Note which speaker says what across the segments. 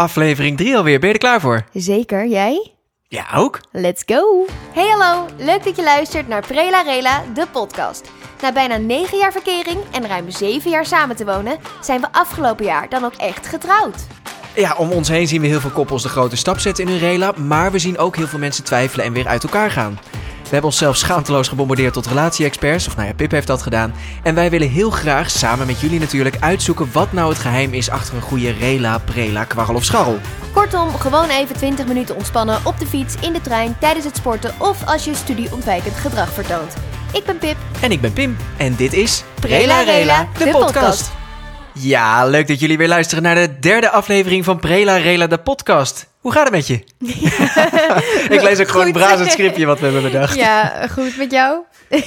Speaker 1: Aflevering 3 alweer. Ben je er klaar voor?
Speaker 2: Zeker, jij?
Speaker 1: Ja, ook.
Speaker 2: Let's go! Hey hallo, leuk dat je luistert naar Prela Rela, de podcast. Na bijna 9 jaar verkering en ruim 7 jaar samen te wonen, zijn we afgelopen jaar dan ook echt getrouwd.
Speaker 1: Ja, om ons heen zien we heel veel koppels de grote stap zetten in hun rela, maar we zien ook heel veel mensen twijfelen en weer uit elkaar gaan. We hebben onszelf schaamteloos gebombardeerd tot relatie-experts, of nou ja, Pip heeft dat gedaan. En wij willen heel graag, samen met jullie natuurlijk, uitzoeken wat nou het geheim is achter een goede rela, prela, kwarrel of scharrel.
Speaker 2: Kortom, gewoon even 20 minuten ontspannen op de fiets, in de trein, tijdens het sporten of als je studieontwijkend gedrag vertoont. Ik ben Pip.
Speaker 1: En ik ben Pim en dit is
Speaker 2: Prela Rela, de podcast.
Speaker 1: Ja, leuk dat jullie weer luisteren naar de derde aflevering van Prela Rela, de podcast. Hoe gaat het met je? ik lees ook gewoon
Speaker 2: Goed.
Speaker 1: braas het scriptje wat we hebben bedacht.
Speaker 2: Ja, goed met jou?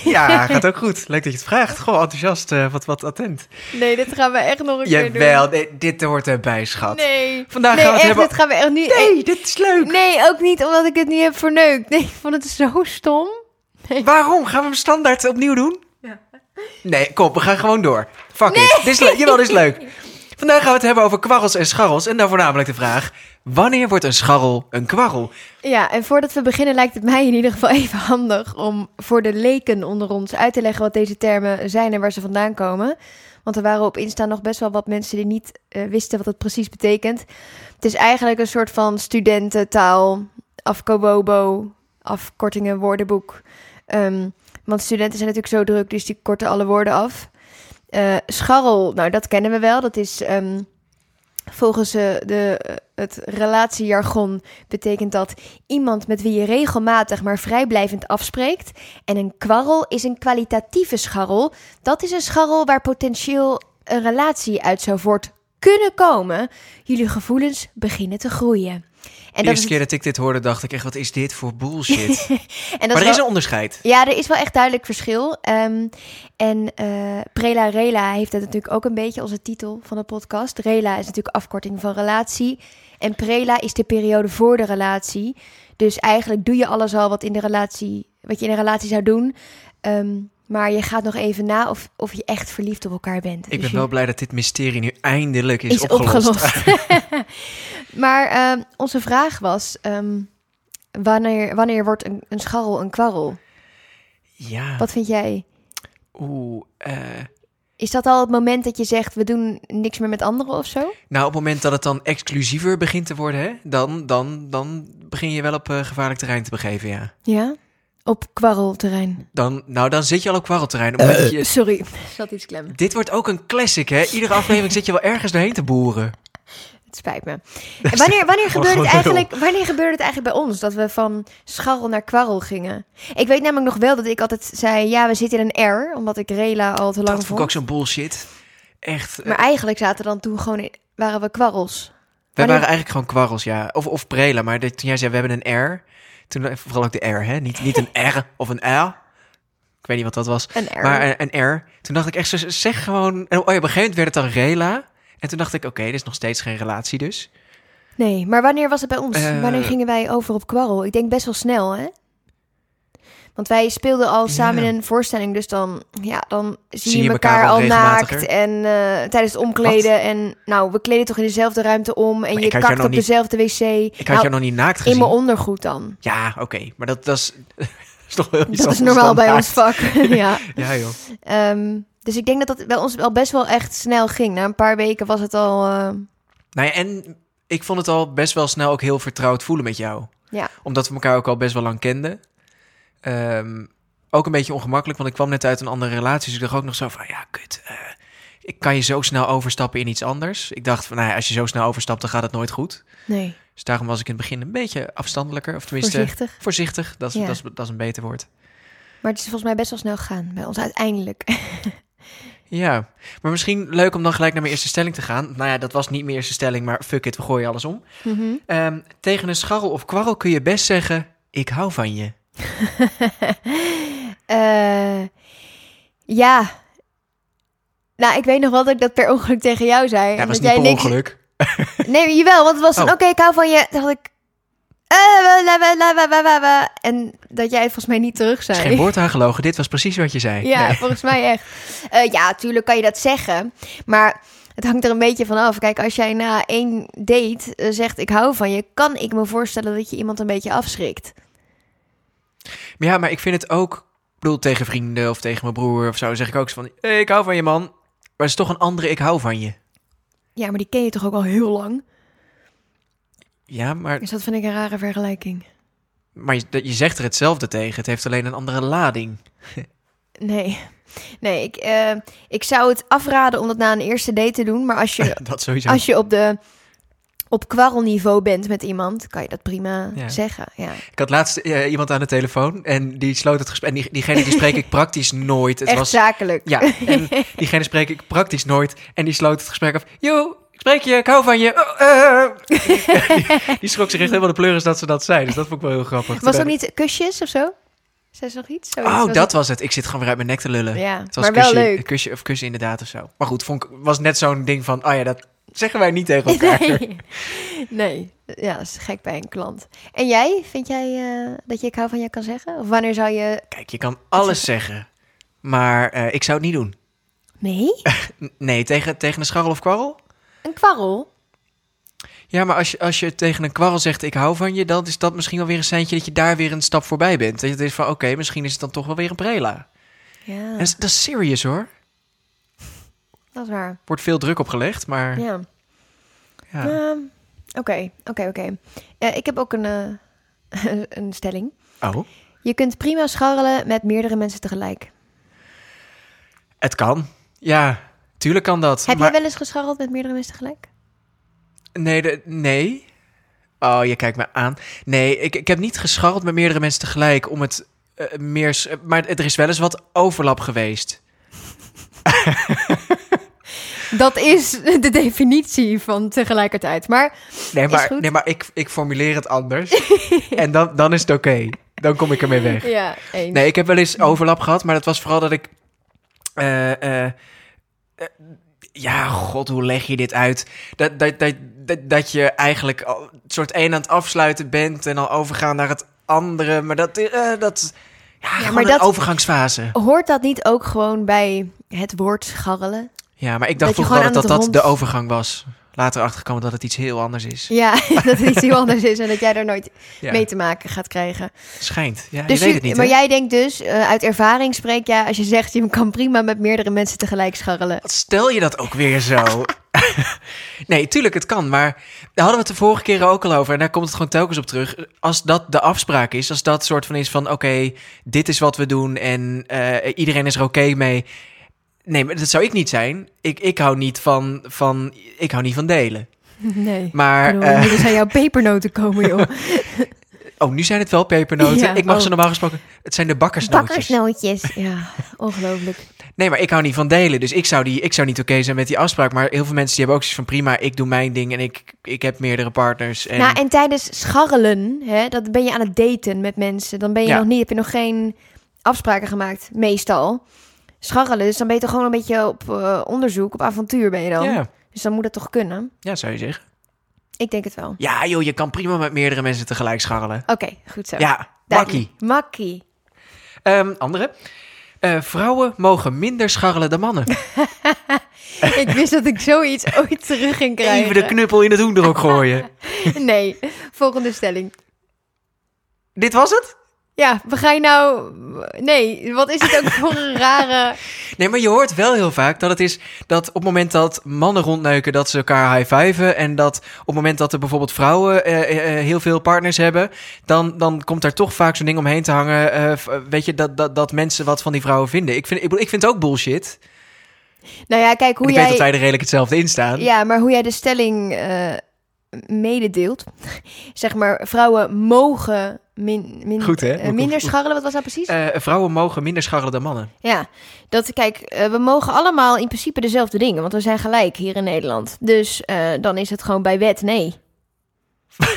Speaker 1: Ja, gaat ook goed. Leuk dat je het vraagt. Goh, enthousiast, eh, wat, wat attent.
Speaker 2: Nee, dit gaan we echt nog een
Speaker 1: Jawel, nee, dit hoort erbij, schat.
Speaker 2: Nee.
Speaker 1: Vandaag gaan we het hebben-
Speaker 2: gaan we echt nu...
Speaker 1: Nee, dit is leuk.
Speaker 2: Nee, ook niet omdat ik het niet heb verneukt. Nee, ik vond het zo stom.
Speaker 1: Waarom? Gaan we hem standaard opnieuw doen? Nee, kom, we gaan gewoon door. Fuck it. Dit is leuk. Jawel, dit is leuk. Vandaag gaan we het hebben over kwarrels en scharrels. En dan voornamelijk de vraag, wanneer wordt een scharrel een kwarrel?
Speaker 2: Ja, en voordat we beginnen lijkt het mij in ieder geval even handig om voor de leken onder ons uit te leggen wat deze termen zijn en waar ze vandaan komen. Want er waren op Insta nog best wel wat mensen die niet eh, wisten wat het precies betekent. Het is eigenlijk een soort van studententaal, afkobobo, afkortingen, woordenboek. Ehm, want studenten zijn natuurlijk zo druk, dus die korten alle woorden af. Eh, scharrel, nou dat kennen we wel. Dat is ehm, volgens eh, de, eh, het relatiejargon betekent dat iemand met wie je regelmatig maar vrijblijvend afspreekt. En een kwarrel is een kwalitatieve scharrel. Dat is een scharrel waar potentieel een relatie uit zou voort kunnen komen. Jullie gevoelens beginnen te groeien. En
Speaker 1: De
Speaker 2: dat is,
Speaker 1: eerste keer dat ik dit hoorde, dacht ik echt, wat is dit voor bullshit?
Speaker 2: en dat
Speaker 1: maar er
Speaker 2: wel-
Speaker 1: is een onderscheid.
Speaker 2: Ja, er is wel echt duidelijk verschil. Ehm, en eh, Prela Rela heeft dat natuurlijk ook een beetje als de titel van de podcast. Rela is natuurlijk afkorting van relatie. En Prela is de periode voor de relatie. Dus eigenlijk doe je alles al wat, in de relatie, wat je in een relatie zou doen. Ehm, maar je gaat nog even na of, of je echt verliefd op elkaar bent.
Speaker 1: Ik
Speaker 2: Dus
Speaker 1: ben
Speaker 2: je-
Speaker 1: wel blij dat dit mysterie nu eindelijk is,
Speaker 2: is opgelost. maar ehm, onze vraag was, ehm, wanneer, wanneer wordt een, een scharrel een kwarrel?
Speaker 1: Ja.
Speaker 2: Wat vind jij?
Speaker 1: Oeh. eh,
Speaker 2: Is dat al het moment dat je zegt, we doen niks meer met anderen of zo?
Speaker 1: nou, op het moment dat het dan exclusiever begint te worden, hè, dan, dan, dan begin je wel op eh, gevaarlijk terrein te begeven, ja.
Speaker 2: Ja. Op kwarrelterrein.
Speaker 1: Dan, nou, dan zit je al op kwarrelterrein. op het moment dat je-
Speaker 2: Sorry, zat iets klem.
Speaker 1: Dit wordt ook een classic, hè? Iedere aflevering zit je wel ergens doorheen te boeren.
Speaker 2: Het spijt me. En wanneer, wanneer, gebeurde
Speaker 1: gewoon
Speaker 2: het eigenlijk, wanneer gebeurde het eigenlijk bij ons? Dat we van scharrel naar kwarrel gingen. Ik weet namelijk nog wel dat ik altijd zei, ja, we zitten in een R. Omdat ik Rela al te lang
Speaker 1: dat vond
Speaker 2: vond.
Speaker 1: ik ook zo'n bullshit. Echt. eh,
Speaker 2: Maar eigenlijk zaten dan toen gewoon, in- waren we kwarrels.
Speaker 1: wij
Speaker 2: wanneer-
Speaker 1: waren eigenlijk gewoon kwarrels, ja. Of, of prela, maar dit- toen jij zei, we hebben een R. Toen, eh, vooral ook de R, hè? Niet, niet een R of een L. Ik weet niet wat dat was.
Speaker 2: Een R.
Speaker 1: Maar eh, een, een R. Toen dacht ik echt, z- zeg gewoon... en- Oh ja, op een gegeven moment werd het dan Rela. En toen dacht ik, oké, dit is nog steeds geen relatie dus.
Speaker 2: Nee, maar wanneer was het bij ons?
Speaker 1: Eh.
Speaker 2: wanneer gingen wij over op kwarrel? Ik denk best wel snel, hè? Want wij speelden al samen
Speaker 1: Ja.
Speaker 2: in een voorstelling, dus dan, ja, dan zie,
Speaker 1: Zie
Speaker 2: je
Speaker 1: je
Speaker 2: elkaar,
Speaker 1: elkaar wel
Speaker 2: al naakt
Speaker 1: regelmatiger?
Speaker 2: en eh, tijdens het omkleden. En nou, we kleden toch in dezelfde ruimte om en
Speaker 1: Maar
Speaker 2: je
Speaker 1: ik had jou
Speaker 2: kakt
Speaker 1: nog
Speaker 2: op
Speaker 1: niet-
Speaker 2: dezelfde wc.
Speaker 1: Ik had
Speaker 2: Nou,
Speaker 1: jou nog niet naakt
Speaker 2: in
Speaker 1: gezien.
Speaker 2: mijn ondergoed dan.
Speaker 1: Ja, oké. Maar dat, dat, is, dat is toch wel iets
Speaker 2: Dat
Speaker 1: anders
Speaker 2: is normaal
Speaker 1: dan
Speaker 2: bij
Speaker 1: naakt.
Speaker 2: ons vak. ja.
Speaker 1: Ja, joh.
Speaker 2: Ehm, dus ik denk dat dat bij ons al best wel echt snel ging. Na een paar weken was het al. eh,
Speaker 1: Nou ja, en ik vond het al best wel snel ook heel vertrouwd voelen met jou.
Speaker 2: Ja.
Speaker 1: Omdat we elkaar ook al best wel lang kenden. Ehm, ook een beetje ongemakkelijk, want ik kwam net uit een andere relatie. Dus ik dacht ook nog zo van, ja, kut. eh, ik kan je zo snel overstappen in iets anders. Ik dacht van, nou ja, als je zo snel overstapt, dan gaat het nooit goed.
Speaker 2: nee,
Speaker 1: Dus daarom was ik in het begin een beetje afstandelijker. Of tenminste, voorzichtig.
Speaker 2: voorzichtig.
Speaker 1: dat, is,
Speaker 2: Ja.
Speaker 1: dat, is, dat is een beter woord.
Speaker 2: Maar het is volgens mij best wel snel gegaan bij ons uiteindelijk.
Speaker 1: Ja, maar misschien leuk om dan gelijk naar mijn eerste stelling te gaan. Nou ja, dat was niet mijn eerste stelling, maar fuck it, we gooien alles om.
Speaker 2: Mhm.
Speaker 1: Ehm, tegen een scharrel of kwarrel kun je best zeggen: Ik hou van je.
Speaker 2: Eh, ja. Nou, ik weet nog wel dat ik dat per ongeluk tegen jou zei.
Speaker 1: Ja,
Speaker 2: en
Speaker 1: was
Speaker 2: dat
Speaker 1: niet per
Speaker 2: jij niks-
Speaker 1: ongeluk.
Speaker 2: Nee, maar jawel, want het was van,
Speaker 1: Oh.
Speaker 2: oké, ik hou van je. Toen dacht ik... eh, wa- la- wa- la- wa- wa- wa- wa. En dat jij volgens mij niet terug
Speaker 1: Het
Speaker 2: zei.
Speaker 1: is geen woord aan gelogen. Dit was precies wat je zei.
Speaker 2: Ja,
Speaker 1: Nee.
Speaker 2: volgens mij echt. Eh, ja, tuurlijk kan je dat zeggen. Maar Het hangt er een beetje van af. Kijk, als jij na één date eh, zegt ik hou van je, kan ik me voorstellen dat je iemand een beetje afschrikt.
Speaker 1: Maar ja, maar ik vind het ook... Ik bedoel, tegen vrienden of tegen mijn broer of zo zeg ik ook zo van... "Hey, ik hou van je, man. Maar het is toch een andere ik hou van je.
Speaker 2: Ja, maar die ken je toch ook al heel lang?
Speaker 1: Ja, maar,
Speaker 2: Dus dat vind ik een rare vergelijking.
Speaker 1: maar je, dat- je zegt er hetzelfde tegen. Het heeft alleen een andere lading.
Speaker 2: Nee. Nee, ik, eh, ik zou het afraden om dat na een eerste date te doen. Maar als je
Speaker 1: Dat sowieso.
Speaker 2: Als je op de op kwarrelniveau bent met iemand, kan je dat prima
Speaker 1: Ja.
Speaker 2: zeggen. Ja.
Speaker 1: Ik had laatst eh, iemand aan de telefoon en die sloot het gesprek. En die, diegene die spreek ik praktisch nooit. Het
Speaker 2: Echt
Speaker 1: was,
Speaker 2: zakelijk.
Speaker 1: ja, en diegene spreek ik praktisch nooit. En die sloot het gesprek af. Yo, ik spreek je, ik hou van je. Oh, eh. die, die schrok zich echt helemaal de pleuris dat ze dat zei. Dus dat vond ik wel heel grappig.
Speaker 2: Was
Speaker 1: Toen
Speaker 2: ook niet kusjes of zo? Zei ze nog iets? Zoiets
Speaker 1: dacht ik,
Speaker 2: was
Speaker 1: Oh,
Speaker 2: het.
Speaker 1: dat was het. Ik zit gewoon weer uit mijn nek te lullen.
Speaker 2: Ja,
Speaker 1: Het was
Speaker 2: maar wel
Speaker 1: kusje,
Speaker 2: leuk.
Speaker 1: Kusje, of kussen inderdaad of zo. Maar goed, vond ik, was net zo'n ding van... Oh ja, dat zeggen wij niet tegen elkaar.
Speaker 2: Nee. nee. Ja, dat is gek bij een klant. En jij, vind jij eh, dat je ik hou van je kan zeggen? Of wanneer zou je...
Speaker 1: Kijk, je kan alles zeggen. Maar eh, ik zou het niet doen.
Speaker 2: Nee?
Speaker 1: N- Nee, tegen, tegen een scharrel of kwarrel?
Speaker 2: Een kwarrel?
Speaker 1: Ja, maar als je, als je tegen een kwarrel zegt ik hou van je, dan is dat misschien wel weer een seintje dat je daar weer een stap voorbij bent. Dat je denkt van oké, misschien is het dan toch wel weer een prela.
Speaker 2: Ja,
Speaker 1: En dat, is, dat is serious hoor.
Speaker 2: dat is waar.
Speaker 1: Wordt veel druk opgelegd, maar ja.
Speaker 2: Ja. Ehm, Oké, oké, oké. Eh, Ik heb ook een, eh, een stelling.
Speaker 1: Oh,
Speaker 2: Je kunt prima scharrelen met meerdere mensen tegelijk.
Speaker 1: het kan. Ja, tuurlijk kan dat.
Speaker 2: Heb
Speaker 1: maar...
Speaker 2: jij wel eens gescharreld met meerdere mensen tegelijk?
Speaker 1: Nee, de- nee. Oh, je kijkt me aan. Nee, ik, ik heb niet gescharreld met meerdere mensen tegelijk om het eh, meer... s- Maar er is wel eens wat overlap geweest.
Speaker 2: Dat is de definitie van tegelijkertijd. Maar
Speaker 1: Nee,
Speaker 2: Is
Speaker 1: maar,
Speaker 2: goed.
Speaker 1: nee, maar ik, ik formuleer het anders. en dan, dan is het oké. Dan kom ik ermee weg.
Speaker 2: ja, eens.
Speaker 1: Nee, ik heb wel eens
Speaker 2: Hmm.
Speaker 1: overlap gehad, maar dat was vooral dat ik. eh, eh, eh, ja, god, hoe leg je dit uit? Dat, dat, dat, dat, dat je eigenlijk al een soort een aan het afsluiten bent en al overgaan naar het andere. Maar dat. eh, dat ja, gewoon
Speaker 2: maar
Speaker 1: een
Speaker 2: dat-
Speaker 1: overgangsfase.
Speaker 2: Hoort dat niet ook gewoon bij het woord scharrelen?
Speaker 1: Ja, maar ik
Speaker 2: Dat
Speaker 1: dacht
Speaker 2: je
Speaker 1: vroeger altijd
Speaker 2: gewoon
Speaker 1: dat
Speaker 2: aan
Speaker 1: dat
Speaker 2: het
Speaker 1: de
Speaker 2: rond-
Speaker 1: overgang was. Later achterkomen dat het iets heel anders is.
Speaker 2: Ja, dat het iets heel anders is en dat jij er nooit
Speaker 1: Ja,
Speaker 2: mee te maken gaat krijgen.
Speaker 1: Schijnt. Ja,
Speaker 2: Dus
Speaker 1: je weet het niet.
Speaker 2: maar
Speaker 1: hè?
Speaker 2: jij denkt dus, eh, uit ervaring spreek jij, als je zegt je kan prima met meerdere mensen tegelijk scharrelen.
Speaker 1: Wat stel je dat ook weer zo? nee, tuurlijk, het kan. Maar daar hadden we het de vorige keer ook al over. En daar komt het gewoon telkens op terug. Als dat de afspraak is, als dat soort van is van... oké, dit is wat we doen en eh, iedereen is er oké mee. Nee, maar dat zou ik niet zijn. Ik, ik, hou, niet van, van, ik hou niet van delen.
Speaker 2: Nee.
Speaker 1: Maar,
Speaker 2: Bedoel,
Speaker 1: eh,
Speaker 2: er zijn jouw pepernoten komen, joh.
Speaker 1: oh, nu zijn het wel pepernoten.
Speaker 2: Ja,
Speaker 1: ik mag
Speaker 2: oh.
Speaker 1: ze normaal gesproken... Het zijn de bakkersnootjes.
Speaker 2: Bakkersnootjes. Ja, ongelooflijk.
Speaker 1: Nee, maar ik hou niet van delen. Dus ik zou, die, ik zou niet oké zijn met die afspraak. Maar heel veel mensen die hebben ook zoiets van prima, ik doe mijn ding en ik, ik heb meerdere partners. En,
Speaker 2: Nou, en tijdens scharrelen, hè, dat ben je aan het daten met mensen. Dan ben je
Speaker 1: Ja.
Speaker 2: nog niet, heb je nog geen afspraken gemaakt, meestal. Scharrelen, dus dan ben je toch gewoon een beetje op eh, onderzoek, op avontuur ben je dan.
Speaker 1: ja,
Speaker 2: Dus dan moet dat toch kunnen?
Speaker 1: ja, zou je zeggen.
Speaker 2: Ik denk het wel. Oké,
Speaker 1: Ja, joh, je kan prima met meerdere mensen tegelijk scharrelen.
Speaker 2: goed zo.
Speaker 1: Ja,
Speaker 2: Duidelijk.
Speaker 1: bakkie.
Speaker 2: Makkie.
Speaker 1: Ehm, andere. Eh, vrouwen mogen minder scharrelen dan mannen.
Speaker 2: ik wist dat ik zoiets ooit terug ging
Speaker 1: Even de
Speaker 2: krijgen.
Speaker 1: knuppel in het hoenderhok gooien.
Speaker 2: nee, volgende stelling.
Speaker 1: Dit was het?
Speaker 2: Ja, we gaan nou... Nee, wat is het ook voor een rare...
Speaker 1: Nee, maar je hoort wel heel vaak dat het is dat op het moment dat mannen rondneuken, dat ze elkaar high-fiven. En dat op het moment dat er bijvoorbeeld vrouwen eh, eh, eh, heel veel partners hebben, dan, dan komt daar toch vaak zo'n ding omheen te hangen. eh, v- weet je, dat, dat, dat mensen wat van die vrouwen vinden. Ik vind, ik, bedoel, ik vind het ook bullshit.
Speaker 2: Nou ja, kijk
Speaker 1: En
Speaker 2: hoe
Speaker 1: ik
Speaker 2: jij...
Speaker 1: weet dat wij er redelijk hetzelfde in staan.
Speaker 2: Ja, maar hoe jij de stelling eh, mededeelt. Zeg maar, vrouwen mogen min, min-
Speaker 1: Goed, hè?
Speaker 2: eh,
Speaker 1: Hoe- hoe-
Speaker 2: minder
Speaker 1: hoe-
Speaker 2: scharrelen. Wat was dat precies?
Speaker 1: Eh, vrouwen mogen minder scharrelen dan mannen.
Speaker 2: Ja, dat kijk, eh, we mogen allemaal in principe dezelfde dingen. Want we zijn gelijk hier in Nederland. Dus eh, dan is het gewoon bij wet nee. ja.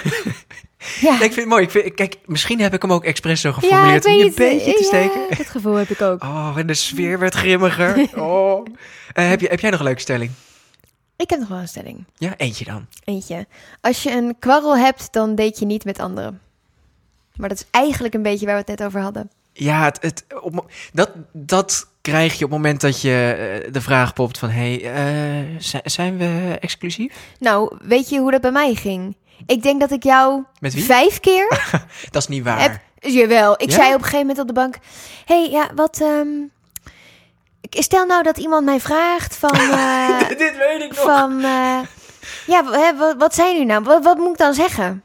Speaker 1: Nee, ik vind het mooi. Ik vind, kijk, misschien heb ik hem ook expres zo
Speaker 2: ja,
Speaker 1: geformuleerd om je een beetje te steken.
Speaker 2: Ja, dat gevoel heb ik ook.
Speaker 1: Oh, en de sfeer werd grimmiger. Oh. Eh, heb, je, heb jij nog een leuke stelling?
Speaker 2: Ik heb nog wel een stelling.
Speaker 1: Ja, eentje dan.
Speaker 2: Eentje. Als je een kwarrel hebt, dan date je niet met anderen. Maar dat is eigenlijk een beetje waar we het net over hadden.
Speaker 1: Ja, het, het, op- dat, dat krijg je op het moment dat je eh, de vraag popt van... hey, eh, zi- zijn we exclusief?
Speaker 2: Nou, weet je hoe dat bij mij ging? Ik denk dat ik jou
Speaker 1: Met wie?
Speaker 2: vijf keer
Speaker 1: Dat is niet waar.
Speaker 2: Heb- Jawel, ik
Speaker 1: Ja?
Speaker 2: zei op een gegeven moment op de bank... hey, ja, wat... ehm, ik- stel nou dat iemand mij vraagt van... eh,
Speaker 1: Dit weet ik nog.
Speaker 2: van eh, ja, w- hè, wat, wat zijn jullie nou? Wat, wat moet ik dan zeggen?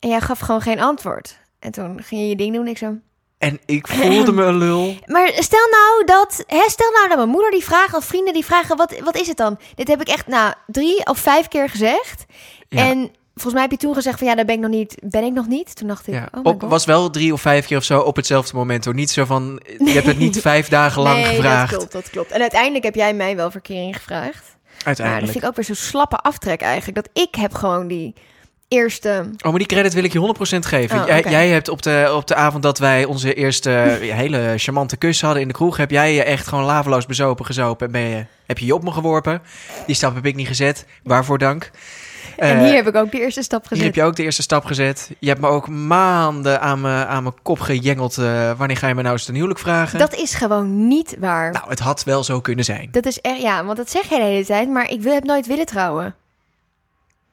Speaker 2: En jij gaf gewoon geen antwoord. En toen ging je je ding doen, ik zo...
Speaker 1: En ik voelde me een lul.
Speaker 2: Maar stel nou dat... Hè, stel nou dat mijn moeder die vraagt of vrienden die vragen... Wat, wat is het dan? Dit heb ik echt nou, drie of vijf keer gezegd.
Speaker 1: Ja.
Speaker 2: En volgens mij heb je toen gezegd van... Ja, daar ben ik nog niet. Ben ik nog niet? Toen dacht ik...
Speaker 1: Ja.
Speaker 2: Oh my
Speaker 1: Op,
Speaker 2: God.
Speaker 1: was wel drie of vijf keer of zo op hetzelfde moment. Hoor. Niet zo van, eh, je hebt het niet
Speaker 2: Nee.
Speaker 1: vijf dagen lang
Speaker 2: nee,
Speaker 1: gevraagd.
Speaker 2: dat klopt, dat klopt. En uiteindelijk heb jij mij wel verkering gevraagd. Maar dat
Speaker 1: Uiteindelijk.
Speaker 2: vind ik ook weer zo'n slappe aftrek eigenlijk. Dat ik heb gewoon die eerste...
Speaker 1: Oh, maar die credit wil ik je 100% geven.
Speaker 2: Oh,
Speaker 1: jij,
Speaker 2: oké.
Speaker 1: jij hebt op de, op de avond dat wij onze eerste eh, hele charmante kus hadden in de kroeg... heb jij je echt gewoon laveloos bezopen gezopen. En ben je, heb je je op me geworpen. Die stap heb ik niet gezet. Waarvoor dank.
Speaker 2: en
Speaker 1: Eh,
Speaker 2: hier heb ik ook de eerste stap
Speaker 1: Hier heb
Speaker 2: gezet.
Speaker 1: je ook de eerste stap gezet. Je hebt me ook maanden aan mijn aan mijn kop gejengeld. eh, wanneer ga je me nou eens ten huwelijk vragen?
Speaker 2: Dat is gewoon niet waar.
Speaker 1: Nou, het had wel zo kunnen zijn.
Speaker 2: Dat is echt... Ja, want dat zeg jij de hele tijd. Maar ik wil, heb nooit willen trouwen.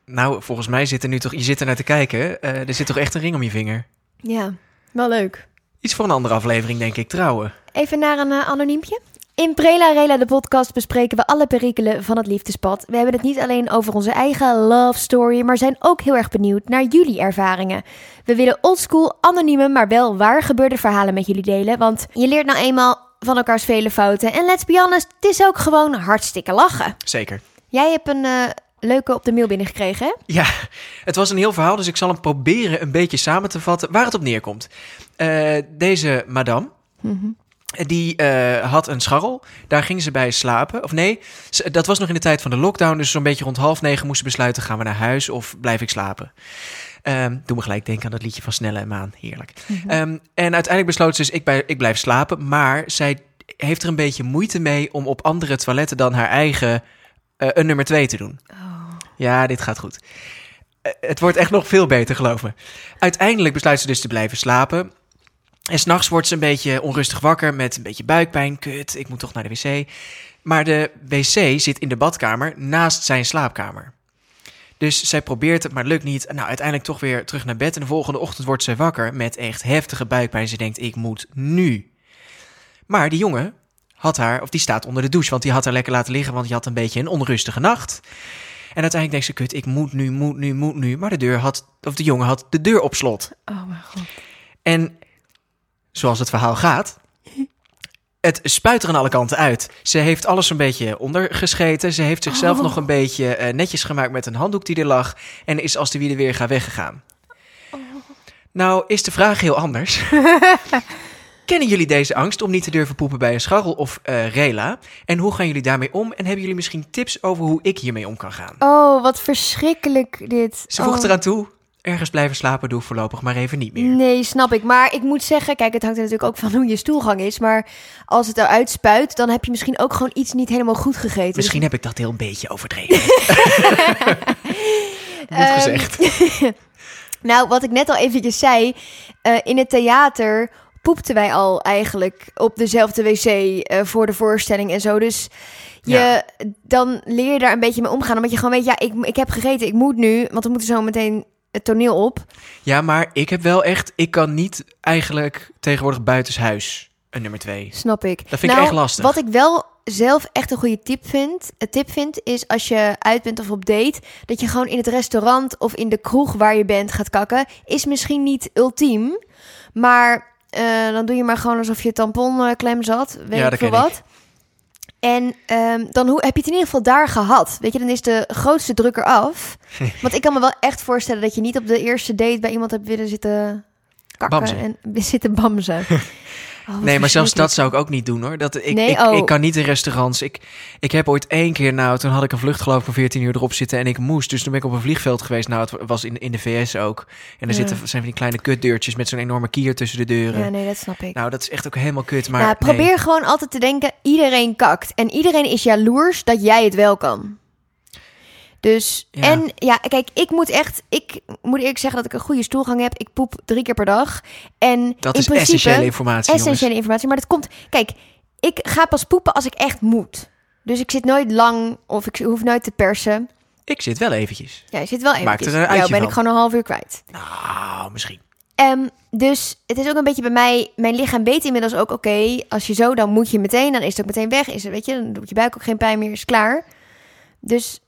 Speaker 1: Nou, volgens mij zit er nu toch... Je zit er naar te kijken. eh, er zit toch echt een ring om je vinger?
Speaker 2: Ja, wel leuk.
Speaker 1: Iets voor een andere aflevering, denk ik, trouwen.
Speaker 2: Even naar een eh, anoniempje. In Prela Rela, de podcast, bespreken we alle perikelen van het liefdespad. We hebben het niet alleen over onze eigen love story, maar zijn ook heel erg benieuwd naar jullie ervaringen. We willen oldschool, anonieme, maar wel waar gebeurde verhalen met jullie delen. Want je leert nou eenmaal van elkaars vele fouten. En let's be honest, het is ook gewoon hartstikke lachen.
Speaker 1: Zeker.
Speaker 2: Jij hebt een eh, leuke op de mail binnengekregen, hè?
Speaker 1: Ja, het was een heel verhaal, dus ik zal hem proberen een beetje samen te vatten waar het op neerkomt. Eh, deze madame,
Speaker 2: Mhm.
Speaker 1: die eh, had een scharrel. Daar ging ze bij slapen. Of nee, ze- dat was nog in de tijd van de lockdown. Dus zo'n beetje rond half negen moesten besluiten: gaan we naar huis of blijf ik slapen? Ehm doe me gelijk denken aan dat liedje van Snelle en Maan. Heerlijk. Ehm, en uiteindelijk besloot ze dus: ik, bij, ik blijf slapen. Maar zij heeft er een beetje moeite mee om op andere toiletten dan haar eigen eh, een nummer twee te doen. Ja, dit gaat goed. Eh, Het wordt echt nog veel beter, geloof me. Uiteindelijk besluit ze dus te blijven slapen. En s'nachts wordt ze een beetje onrustig wakker met een beetje buikpijn. Kut, ik moet toch naar de wc. Maar de wc zit in de badkamer naast zijn slaapkamer. Dus zij probeert het, maar het lukt niet. Nou, uiteindelijk toch weer terug naar bed. En de volgende ochtend wordt zij wakker met echt heftige buikpijn. Ze denkt, ik moet nu. Maar die jongen had haar, of die staat onder de douche. Want die had haar lekker laten liggen, want die had een beetje een onrustige nacht. En uiteindelijk denkt ze, kut, ik moet nu, moet nu, moet nu. Maar de, deur had, of de jongen had de deur op slot.
Speaker 2: Oh mijn god.
Speaker 1: En zoals het verhaal gaat, het spuit er aan alle kanten uit. Ze heeft alles een beetje ondergescheten. Ze heeft zichzelf
Speaker 2: Oh.
Speaker 1: nog een beetje eh, netjes gemaakt met een handdoek die er lag. En is als de wielen weer gaat weggegaan.
Speaker 2: Oh.
Speaker 1: Nou is de vraag heel anders. Kennen jullie deze angst om niet te durven poepen bij een scharrel of eh, rela? En hoe gaan jullie daarmee om? En hebben jullie misschien tips over hoe ik hiermee om kan gaan?
Speaker 2: Oh, wat verschrikkelijk dit.
Speaker 1: Ze voegt
Speaker 2: Oh.
Speaker 1: eraan toe, ergens blijven slapen doe ik voorlopig maar even niet meer.
Speaker 2: Nee, snap ik. Maar ik moet zeggen, kijk, het hangt er natuurlijk ook van hoe je stoelgang is. Maar als het eruit spuit, dan heb je misschien ook gewoon iets niet helemaal goed gegeten. Dus,
Speaker 1: Misschien heb ik dat heel een beetje overdreven. Moet
Speaker 2: Ehm,
Speaker 1: gezegd.
Speaker 2: Dus- nou, wat ik net al eventjes zei, eh, in het theater poepten wij al eigenlijk op dezelfde wc eh, voor de voorstelling en zo. Dus je,
Speaker 1: Ja.
Speaker 2: dan leer je daar een beetje mee omgaan. Omdat je gewoon weet, ja, ik, ik heb gegeten, ik moet nu. Want we moeten zo meteen het toneel op.
Speaker 1: Ja, maar ik heb wel echt... Ik kan niet eigenlijk tegenwoordig buitenshuis een nummer twee.
Speaker 2: Snap ik.
Speaker 1: Dat vind ik
Speaker 2: Nou,
Speaker 1: echt lastig.
Speaker 2: Wat ik wel zelf echt een goede tip vind, een tip vind, is als je uit bent of op date, dat je gewoon in het restaurant of in de kroeg waar je bent gaat kakken, is misschien niet ultiem, maar eh, dan doe je maar gewoon alsof je tampon eh, klem zat, weet
Speaker 1: Ja,
Speaker 2: ik
Speaker 1: dat
Speaker 2: veel
Speaker 1: ken
Speaker 2: wat. En ehm, dan hoe, heb je het in ieder geval daar gehad. Weet je, dan is de grootste druk eraf. Want ik kan me wel echt voorstellen dat je niet op de eerste date bij iemand hebt willen zitten kakken
Speaker 1: Bamzen.
Speaker 2: en zitten bamzen. Oh, wat
Speaker 1: Nee, maar zelfs
Speaker 2: verschrikkelijk.
Speaker 1: dat zou ik ook niet doen, hoor. Dat, ik,
Speaker 2: Nee,
Speaker 1: ik,
Speaker 2: oh.
Speaker 1: ik kan niet in restaurants. Ik, ik heb ooit één keer, nou, toen had ik een vlucht geloof ik van 14 uur erop zitten en ik moest. Dus toen ben ik op een vliegveld geweest. Nou, het was in, in de VS ook. En er
Speaker 2: Ja.
Speaker 1: zitten, zijn van die kleine kutdeurtjes met zo'n enorme kier tussen de deuren.
Speaker 2: Ja, nee, dat snap ik.
Speaker 1: Nou, dat is echt ook helemaal kut, maar
Speaker 2: ja,
Speaker 1: nee.
Speaker 2: probeer gewoon altijd te denken: iedereen kakt. En iedereen is jaloers dat jij het wel kan. Dus,
Speaker 1: Ja.
Speaker 2: en ja, kijk, ik moet echt, ik moet eerlijk zeggen dat ik een goede stoelgang heb. Ik poep drie keer per dag. En
Speaker 1: Dat
Speaker 2: in
Speaker 1: is
Speaker 2: principe,
Speaker 1: essentiële informatie, jongens.
Speaker 2: essentiële informatie. Maar dat komt, kijk, ik ga pas poepen als ik echt moet. Dus ik zit nooit lang of ik hoef nooit te persen.
Speaker 1: Ik zit wel eventjes.
Speaker 2: Ja, je zit wel
Speaker 1: Maakt er
Speaker 2: eventjes.
Speaker 1: een uitje
Speaker 2: Jou ben
Speaker 1: van.
Speaker 2: ik gewoon een half uur kwijt.
Speaker 1: Nou, misschien.
Speaker 2: Ehm, dus het is ook een beetje bij mij. Mijn lichaam weet inmiddels ook: oké, als je zo, dan moet je meteen. Dan is het ook meteen weg. Is het, weet je, dan doet je buik ook geen pijn meer. Is klaar. Dus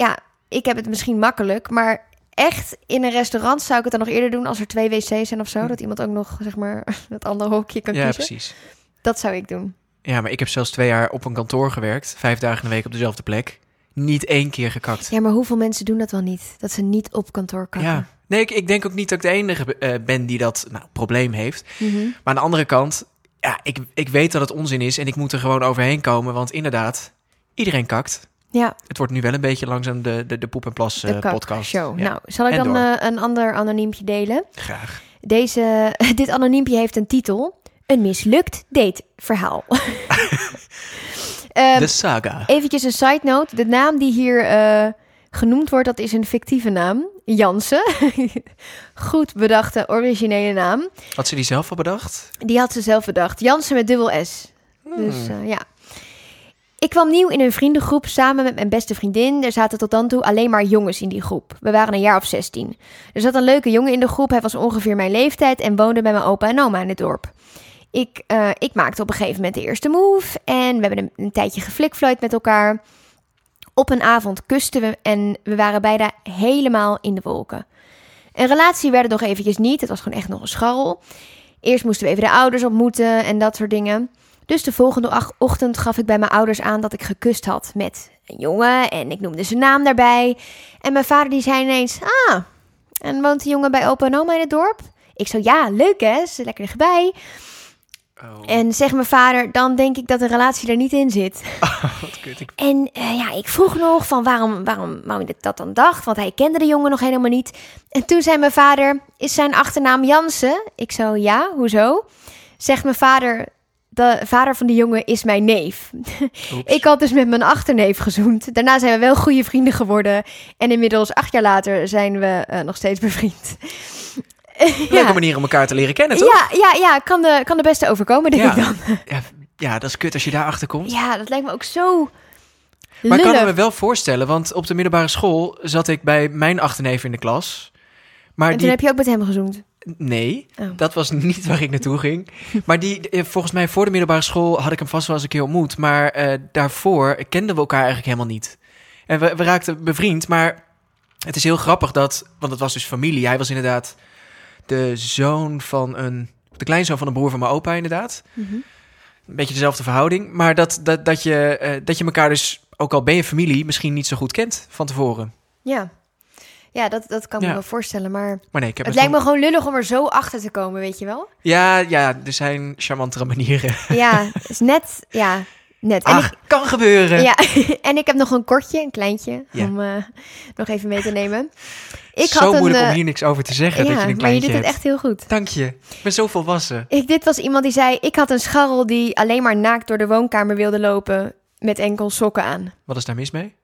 Speaker 2: ja, ik heb het misschien makkelijk. Maar echt in een restaurant zou ik het dan nog eerder doen als er twee wc's zijn of zo. Dat iemand ook nog, zeg maar, dat andere hokje kan
Speaker 1: Hm. Ja,
Speaker 2: kiezen.
Speaker 1: precies.
Speaker 2: Dat zou ik doen.
Speaker 1: Ja, maar ik heb zelfs twee jaar op een kantoor gewerkt. Vijf dagen in de week op dezelfde plek. Niet één keer gekakt.
Speaker 2: Ja, maar hoeveel mensen doen dat wel niet? Dat ze niet op kantoor kan.
Speaker 1: Ja. Nee, ik, ik denk ook niet dat ik de enige eh, ben die dat nou, probleem heeft.
Speaker 2: Mhm.
Speaker 1: Maar aan de andere kant, ja, ik, ik weet dat het onzin is en ik moet er gewoon overheen komen. Want inderdaad, iedereen kakt.
Speaker 2: ja
Speaker 1: Het wordt nu wel een beetje langzaam de, de, de poep en plas
Speaker 2: de
Speaker 1: eh, podcast.
Speaker 2: show.
Speaker 1: Ja,
Speaker 2: Nou, zal ik
Speaker 1: En
Speaker 2: dan
Speaker 1: door.
Speaker 2: eh, een ander anoniempje delen?
Speaker 1: Graag.
Speaker 2: Deze, dit anoniempje heeft een titel: Een mislukt dateverhaal. Ehm
Speaker 1: de saga.
Speaker 2: eventjes een side note: de naam die hier eh, genoemd wordt, dat is een fictieve naam. Jansen. Goed bedachte originele naam.
Speaker 1: Had ze die zelf al bedacht?
Speaker 2: Die had ze zelf bedacht. Jansen met dubbel S. Dus eh, ja. Ik kwam nieuw in een vriendengroep samen met mijn beste vriendin. Er zaten tot dan toe alleen maar jongens in die groep. We waren een jaar of 16. Er zat een leuke jongen in de groep. Hij was ongeveer mijn leeftijd en woonde bij mijn opa en oma in het dorp. Ik, eh, ik maakte op een gegeven moment de eerste move en we hebben een, een tijdje geflikflooid met elkaar. Op een avond kusten we en we waren bijna helemaal in de wolken. Een relatie werd het nog eventjes niet. Het was gewoon echt nog een scharrel. Eerst moesten we even de ouders ontmoeten en dat soort dingen. Dus de volgende ach- ochtend gaf ik bij mijn ouders aan dat ik gekust had met een jongen en ik noemde zijn naam daarbij. En mijn vader die zei ineens, ah, en woont die jongen bij opa en oma in het dorp? Ik zo, ja, leuk hè, ze lekker dichtbij.
Speaker 1: Oh,
Speaker 2: En zegt mijn vader, dan denk ik dat een relatie er niet in zit.
Speaker 1: wat kut. Ik-
Speaker 2: En eh, ja, ik vroeg nog van waarom, waarom, waarom ik dat dan dacht, want hij kende de jongen nog helemaal niet. En toen zei mijn vader, is zijn achternaam Jansen? Ik zo, ja, hoezo? Zegt mijn vader, de vader van die jongen is mijn neef.
Speaker 1: Oeps.
Speaker 2: Ik had dus met mijn achterneef gezoend. Daarna zijn we wel goede vrienden geworden. En inmiddels, acht jaar later, zijn we eh, nog steeds bevriend.
Speaker 1: Leuke manier om elkaar te leren kennen, toch?
Speaker 2: ja, ja, ja, kan de, kan de beste overkomen, denk
Speaker 1: Ja.
Speaker 2: ik dan.
Speaker 1: Ja, ja, dat is kut als je daarachter komt.
Speaker 2: Ja, dat lijkt me ook zo
Speaker 1: Maar ik kan
Speaker 2: lullig.
Speaker 1: het me wel voorstellen, want op de middelbare school zat ik bij mijn achterneef in de klas. Maar
Speaker 2: En
Speaker 1: die
Speaker 2: toen heb je ook met hem gezoend.
Speaker 1: Nee,
Speaker 2: Oh.
Speaker 1: dat was niet waar ik naartoe ging. Maar die, eh, volgens mij voor de middelbare school had ik hem vast wel eens een keer ontmoet. Maar eh, daarvoor kenden we elkaar eigenlijk helemaal niet. En we, we raakten bevriend, maar het is heel grappig dat... Want het was dus familie. Hij was inderdaad de zoon van een... De kleinzoon van een broer van mijn opa, inderdaad.
Speaker 2: Mhm.
Speaker 1: Een beetje dezelfde verhouding. Maar dat, dat, dat, je, eh, dat je elkaar dus, ook al ben je familie... misschien niet zo goed kent van tevoren.
Speaker 2: Ja, ja dat, dat kan ik
Speaker 1: Ja.
Speaker 2: me wel voorstellen. Maar
Speaker 1: Maar nee, ik heb
Speaker 2: het
Speaker 1: me
Speaker 2: lijkt me gewoon lullig om er zo achter te komen, weet je wel?
Speaker 1: toen- Ja, ja, er zijn charmantere manieren.
Speaker 2: Ja, is net, ja, net. En,
Speaker 1: Ach, kan gebeuren.
Speaker 2: ik, ja, en ik heb nog een kortje, een kleintje,
Speaker 1: Ja.
Speaker 2: om eh, nog even mee te nemen. Ik
Speaker 1: Zo
Speaker 2: had een,
Speaker 1: moeilijk
Speaker 2: eh,
Speaker 1: om hier niks over te zeggen dat je
Speaker 2: ja,
Speaker 1: een
Speaker 2: maar je
Speaker 1: kleintje
Speaker 2: doet het
Speaker 1: hebt.
Speaker 2: echt heel goed.
Speaker 1: Dank je. Ik ben zo volwassen.
Speaker 2: Ik, dit was iemand die zei, ik had een scharrel die alleen maar naakt door de woonkamer wilde lopen met enkel sokken aan.
Speaker 1: Wat is daar mis mee?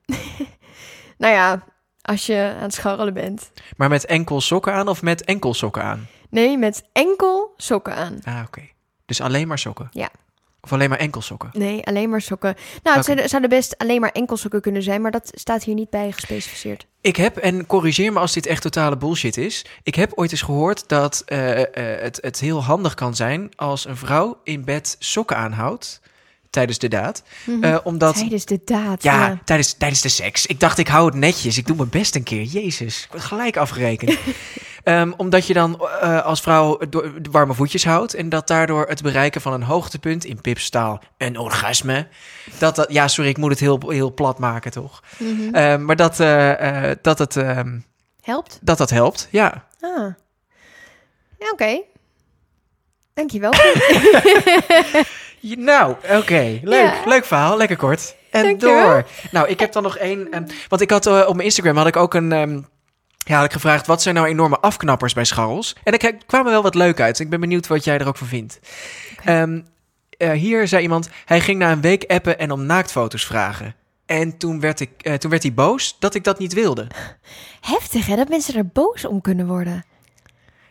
Speaker 2: Nou ja, als je aan het scharrelen bent.
Speaker 1: Maar met enkel sokken aan of met enkel sokken aan?
Speaker 2: Nee, met enkel sokken aan.
Speaker 1: Ah, oké. Dus alleen maar sokken?
Speaker 2: Ja.
Speaker 1: Of alleen maar enkel sokken?
Speaker 2: Nee, alleen maar sokken. Nou, het
Speaker 1: Oké.
Speaker 2: zouden, zouden best alleen maar enkel sokken kunnen zijn, maar dat staat hier niet bij gespecificeerd.
Speaker 1: Ik heb, en corrigeer me als dit echt totale bullshit is. Ik heb ooit eens gehoord dat eh, eh, het, het heel handig kan zijn als een vrouw in bed sokken aanhoudt tijdens de daad.
Speaker 2: Mhm.
Speaker 1: Eh, omdat.
Speaker 2: Tijdens de daad.
Speaker 1: Ja, Tijdens, tijdens de seks. Ik dacht, ik hou het netjes. Ik doe mijn best een keer. Jezus, ik word gelijk afgerekend. Ehm, omdat je dan eh, als vrouw door- de warme voetjes houdt... en dat daardoor het bereiken van een hoogtepunt in pipstaal een orgasme... Dat, dat, ja, sorry, ik moet het heel, heel plat maken, toch?
Speaker 2: Mhm.
Speaker 1: Ehm, maar dat, eh, eh, dat, het, ehm,
Speaker 2: Helpt.
Speaker 1: dat dat helpt, ja.
Speaker 2: Ah. Ja, oké. Dankjewel.
Speaker 1: Je- Nou, oké. Leuk.
Speaker 2: Ja.
Speaker 1: Leuk verhaal. Lekker kort. En
Speaker 2: Dankjewel.
Speaker 1: door. Nou, ik heb dan nog één. ehm, want ik had eh, op mijn Instagram had ik ook een. ehm, ja, had ik gevraagd wat zijn nou enorme afknappers bij scharrels? En er k- kwamen wel wat leuk uit. Ik ben benieuwd wat jij er ook van vindt.
Speaker 2: Oké.
Speaker 1: Ehm, eh, hier zei iemand: hij ging na een week appen en om naaktfoto's vragen. En toen werd, ik, eh, toen werd hij boos dat ik dat niet wilde.
Speaker 2: Heftig, hè? Dat mensen er boos om kunnen worden.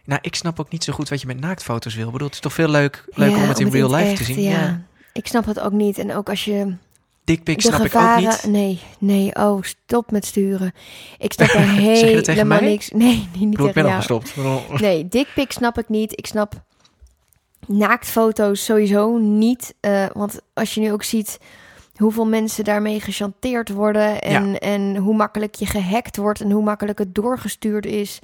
Speaker 1: Nou, ik snap ook niet zo goed wat je met naaktfoto's wil. Ik bedoel, het is toch veel leuk, leuker om het in real life te
Speaker 2: echt,
Speaker 1: zien.
Speaker 2: Ja. Ik snap het ook niet. En ook als je
Speaker 1: Dickpics
Speaker 2: de
Speaker 1: snap
Speaker 2: gevaren...
Speaker 1: ik ook niet.
Speaker 2: Nee, nee. Oh, stop met sturen. Ik snap er
Speaker 1: Zeg je dat tegen
Speaker 2: helemaal
Speaker 1: mij?
Speaker 2: niks... Nee, niet
Speaker 1: Ik bedoel, ik ben
Speaker 2: tegen
Speaker 1: al
Speaker 2: jou.
Speaker 1: gestopt.
Speaker 2: Nee, dikpik snap ik niet. Ik snap naaktfoto's sowieso niet. eh, want als je nu ook ziet hoeveel mensen daarmee gechanteerd worden... En, en hoe makkelijk je gehackt wordt en hoe makkelijk het doorgestuurd is...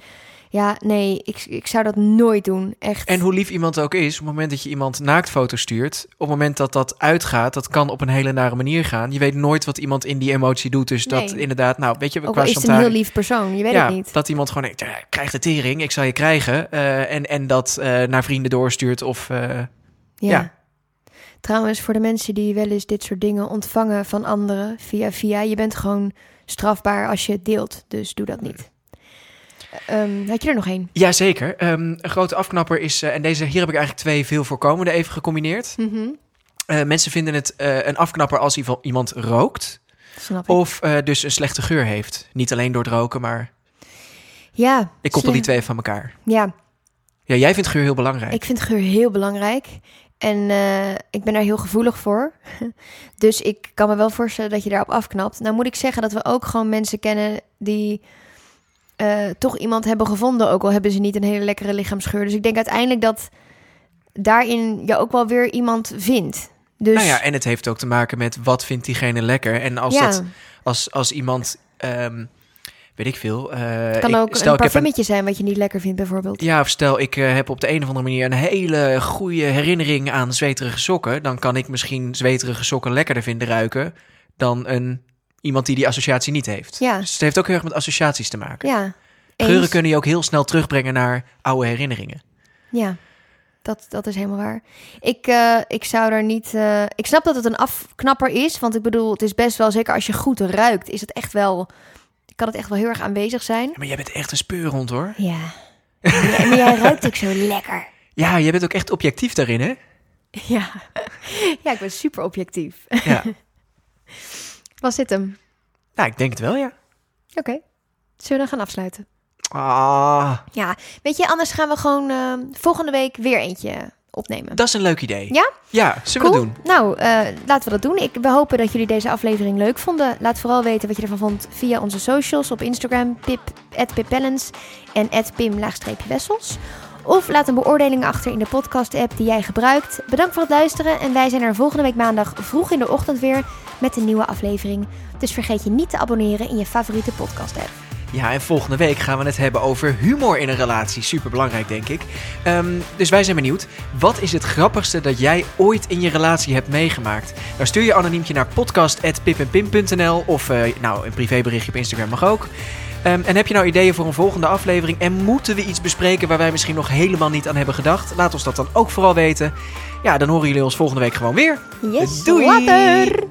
Speaker 2: Ja, nee, ik, ik zou dat nooit doen. Echt.
Speaker 1: En hoe lief iemand ook is, op het moment dat je iemand naaktfoto's stuurt, op het moment dat dat uitgaat, dat kan op een hele nare manier gaan. Je weet nooit wat iemand in die emotie doet. Dus dat
Speaker 2: Nee.
Speaker 1: inderdaad, nou, weet je,
Speaker 2: ook
Speaker 1: qua
Speaker 2: al is het een
Speaker 1: chantage-
Speaker 2: heel lief persoon, je weet
Speaker 1: ja,
Speaker 2: het niet.
Speaker 1: dat iemand gewoon denkt, ja, ik krijg de tering, ik zal je krijgen. eh, en, en dat eh, naar vrienden doorstuurt of... eh,
Speaker 2: Ja.
Speaker 1: Ja.
Speaker 2: Trouwens, voor de mensen die wel eens dit soort dingen ontvangen van anderen via via, je bent gewoon strafbaar als je het deelt, dus doe dat niet. Ehm, had je er nog één?
Speaker 1: Jazeker. Ehm, een grote afknapper is, eh, en deze, hier heb ik eigenlijk twee veel voorkomende even gecombineerd.
Speaker 2: Mhm,
Speaker 1: Eh, mensen vinden het eh, een afknapper als ieva- iemand rookt
Speaker 2: Snap ik.
Speaker 1: of eh, dus een slechte geur heeft. Niet alleen door het roken, maar
Speaker 2: ja.
Speaker 1: ik koppel die
Speaker 2: slim.
Speaker 1: twee van elkaar.
Speaker 2: Ja,
Speaker 1: Ja, jij vindt geur heel belangrijk.
Speaker 2: ik vind geur heel belangrijk en eh, ik ben daar heel gevoelig voor. dus ik kan me wel voorstellen dat je daarop afknapt. Nou moet ik zeggen dat we ook gewoon mensen kennen die eh, toch iemand hebben gevonden, ook al hebben ze niet een hele lekkere lichaamsgeur. Dus ik denk uiteindelijk dat daarin je ook wel weer iemand vindt. Dus
Speaker 1: Nou ja, en het heeft ook te maken met wat vindt diegene lekker. En als,
Speaker 2: ja,
Speaker 1: dat, eh, als, als iemand, ehm, weet ik veel... eh,
Speaker 2: het kan
Speaker 1: ik- stel, ik
Speaker 2: ook een
Speaker 1: heb een-
Speaker 2: parfummetje zijn wat je niet lekker vindt bijvoorbeeld.
Speaker 1: Ja, of stel ik eh, heb op de een of andere manier een hele goede herinnering aan zweterige sokken. Dan kan ik misschien zweterige sokken lekkerder vinden ruiken dan een, iemand die die associatie niet heeft.
Speaker 2: Ja.
Speaker 1: Dus het heeft ook heel erg met associaties te maken.
Speaker 2: Ja, eens.
Speaker 1: Geuren kunnen je ook heel snel terugbrengen naar oude herinneringen.
Speaker 2: Ja, dat, dat is helemaal waar. Ik, eh, ik zou daar niet. eh, ik snap dat het een afknapper is. Want ik bedoel, het is best wel zeker als je goed ruikt, is het echt wel. Kan het echt wel heel erg aanwezig zijn.
Speaker 1: Ja, maar jij bent echt een speurhond hoor.
Speaker 2: Ja. Ja, maar jij ruikt ook zo lekker.
Speaker 1: Ja, jij bent ook echt objectief daarin hè?
Speaker 2: Ja. ja, ik ben super objectief.
Speaker 1: Ja.
Speaker 2: Was dit hem?
Speaker 1: nou, ik denk het wel ja.
Speaker 2: Oké. Zullen we dan gaan afsluiten?
Speaker 1: Ah,
Speaker 2: Ja, weet je, anders gaan we gewoon eh, volgende week weer eentje opnemen.
Speaker 1: dat is een leuk idee.
Speaker 2: Ja?
Speaker 1: Ja, zullen we
Speaker 2: Cool.
Speaker 1: doen.
Speaker 2: Nou, eh, laten we dat doen. Ik, we hopen dat jullie deze aflevering leuk vonden. Laat vooral weten wat je ervan vond via onze socials op Instagram, pip, @pippellens en pim-wessels. Of laat een beoordeling achter in de podcast-app die jij gebruikt. Bedankt voor het luisteren en wij zijn er volgende week maandag vroeg in de ochtend weer met een nieuwe aflevering. Dus vergeet je niet te abonneren in je favoriete podcast-app.
Speaker 1: Ja, en volgende week gaan we het hebben over humor in een relatie. Superbelangrijk, denk ik. Ehm, dus wij zijn benieuwd. Wat is het grappigste dat jij ooit in je relatie hebt meegemaakt? Nou, stuur je anoniempje naar podcast.pipenpim.nl of eh, nou, een privéberichtje op Instagram mag ook. Ehm, en heb je nou ideeën voor een volgende aflevering? En moeten we iets bespreken waar wij misschien nog helemaal niet aan hebben gedacht? Laat ons dat dan ook vooral weten. Ja, dan horen jullie ons volgende week gewoon weer.
Speaker 2: Yes,
Speaker 1: Doei!
Speaker 2: later!